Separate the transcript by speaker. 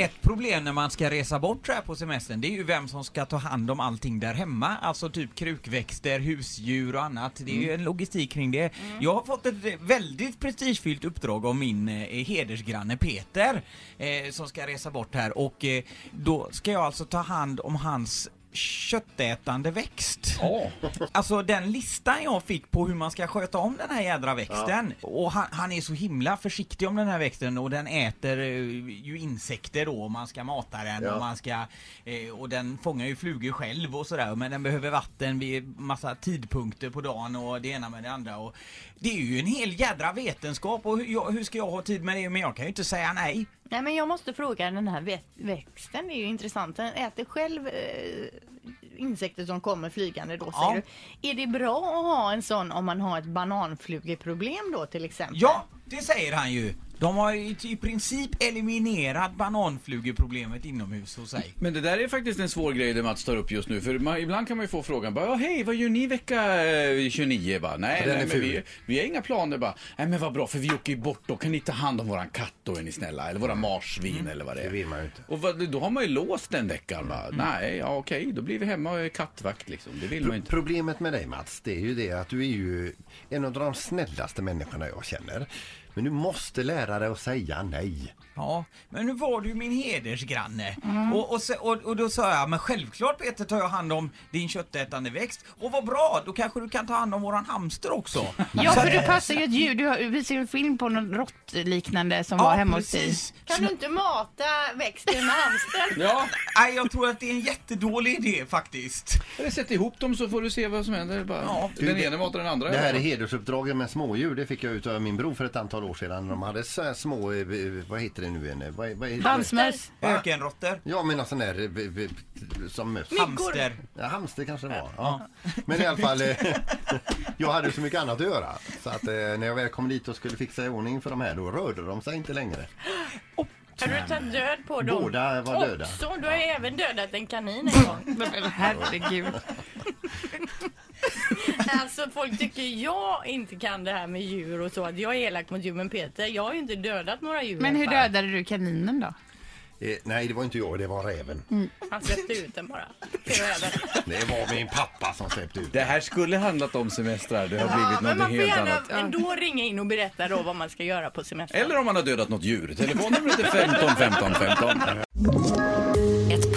Speaker 1: ett problem när man ska resa bort så här på semestern, det är ju vem som ska ta hand om allting där hemma. Alltså typ krukväxter, husdjur och annat. Det är ju en logistik kring det. Jag har fått ett eh, väldigt prestigefyllt uppdrag av min eh, hedersgranne Peter, eh, som ska resa bort här. Och eh, då ska jag alltså ta hand om hans köttätande växt. Alltså den listan jag fick på hur man ska sköta om den här jädra växten. Och han, han är så himla försiktig om den här växten och den äter eh, ju insekter då och man ska mata den
Speaker 2: Ja.
Speaker 1: och man ska... Eh, och den fångar ju flugor själv och sådär men den behöver vatten vid massa tidpunkter på dagen och det ena med det andra och... Det är ju en hel jädra vetenskap och hur, jag, hur ska jag ha tid med det? Men jag kan ju inte säga nej.
Speaker 3: Nej men jag måste fråga den här vä- växten, det är ju intressant. Den äter själv eh, insekter som kommer flygande då
Speaker 1: Ja.
Speaker 3: säger du. Är det bra att ha en sån om man har ett bananflugeproblem då till exempel?
Speaker 1: Ja, det säger han ju! De har ju i princip eliminerat bananflugeproblemet inomhus hos sig.
Speaker 4: Men det där är faktiskt en svår grej det Mats tar upp just nu. För man, ibland kan man ju få frågan bara, "Ja, hej vad gör ni vecka eh, 29? Bara, nej,
Speaker 2: Den
Speaker 4: nej
Speaker 2: är
Speaker 4: men
Speaker 2: ful."
Speaker 4: vi, vi har inga planer bara. Nej men vad bra för vi åker ju bort då. Kan ni ta hand om våran katt då är ni snälla? Eller våra marsvin eller vad det
Speaker 2: Mm. Det
Speaker 4: är.
Speaker 2: vill man ju inte. Mm.
Speaker 4: Och vad, då har man ju låst den veckan va? Nej, ja okej, då blir vi hemma och är kattvakt liksom. Det vill man ju inte.
Speaker 2: Problemet med dig Mats, det är ju det att du är ju en av de snällaste människorna jag känner. Men du måste lära dig att säga nej.
Speaker 1: Ja, men nu var du min hedersgranne.
Speaker 5: Mm.
Speaker 1: Och, och, se- och, och då sa jag, men självklart Peter tar jag hand om din köttätande växt. Och vad bra, då kanske du kan ta hand om våran hamster också. eh,
Speaker 5: Ja, för du passar ju ett djur. Du har, vi ser en film på någon råttliknande som var hemma hos dig.
Speaker 3: Kan du inte mata växten med hamstern?
Speaker 4: Ja,
Speaker 1: Nej, jag tror att det är en jättedålig idé faktiskt.
Speaker 4: eller sätt ihop dem så får du se vad som händer. Bara,
Speaker 1: Ja.
Speaker 4: den ena matar den andra.
Speaker 2: Det här är hedersuppdragen med smådjur. Det fick jag ut av min bror för ett antal år sedan. De hade så här små, eh, eh, vad heter det nu igen? Eh, Vad, vad heter det?
Speaker 5: Dansmöss.
Speaker 1: Ökenråttor,
Speaker 2: Ja men en sån där eh, b- b- som möss.
Speaker 1: hamster.
Speaker 2: Ja, hamster kanske det var. Ja. Men i alla fall, eh, jag hade så mycket annat att göra. Så att eh, när jag väl kom dit och skulle fixa i ordning för de här, då rörde de sig inte längre.
Speaker 3: Har du tagit död på dem?
Speaker 2: Båda var döda.
Speaker 3: Också, du har ju även dödat en kanin en gång.
Speaker 5: Herregud.
Speaker 3: alltså folk tycker jag inte kan det här med djur och så. Att jag är elak mot djur. Men Peter, jag har ju inte dödat några djur.
Speaker 5: Men
Speaker 3: i
Speaker 5: hur
Speaker 3: alla fall.
Speaker 5: dödade du kaninen då?
Speaker 2: Eh, nej, det var inte jag, det var räven.
Speaker 3: Han släppte ut den bara. Det var även.
Speaker 2: Det var min pappa som släppte ut.
Speaker 4: Det här skulle handlat om semestrar. Det har
Speaker 3: Ja,
Speaker 4: blivit
Speaker 3: men man
Speaker 4: något
Speaker 3: får
Speaker 4: helt
Speaker 3: gärna
Speaker 4: annat.
Speaker 3: ändå ringa in och berätta då vad man ska göra på semestern.
Speaker 4: Eller om man har dödat något djur. Telefonnumret är 15 15 15.
Speaker 6: Ett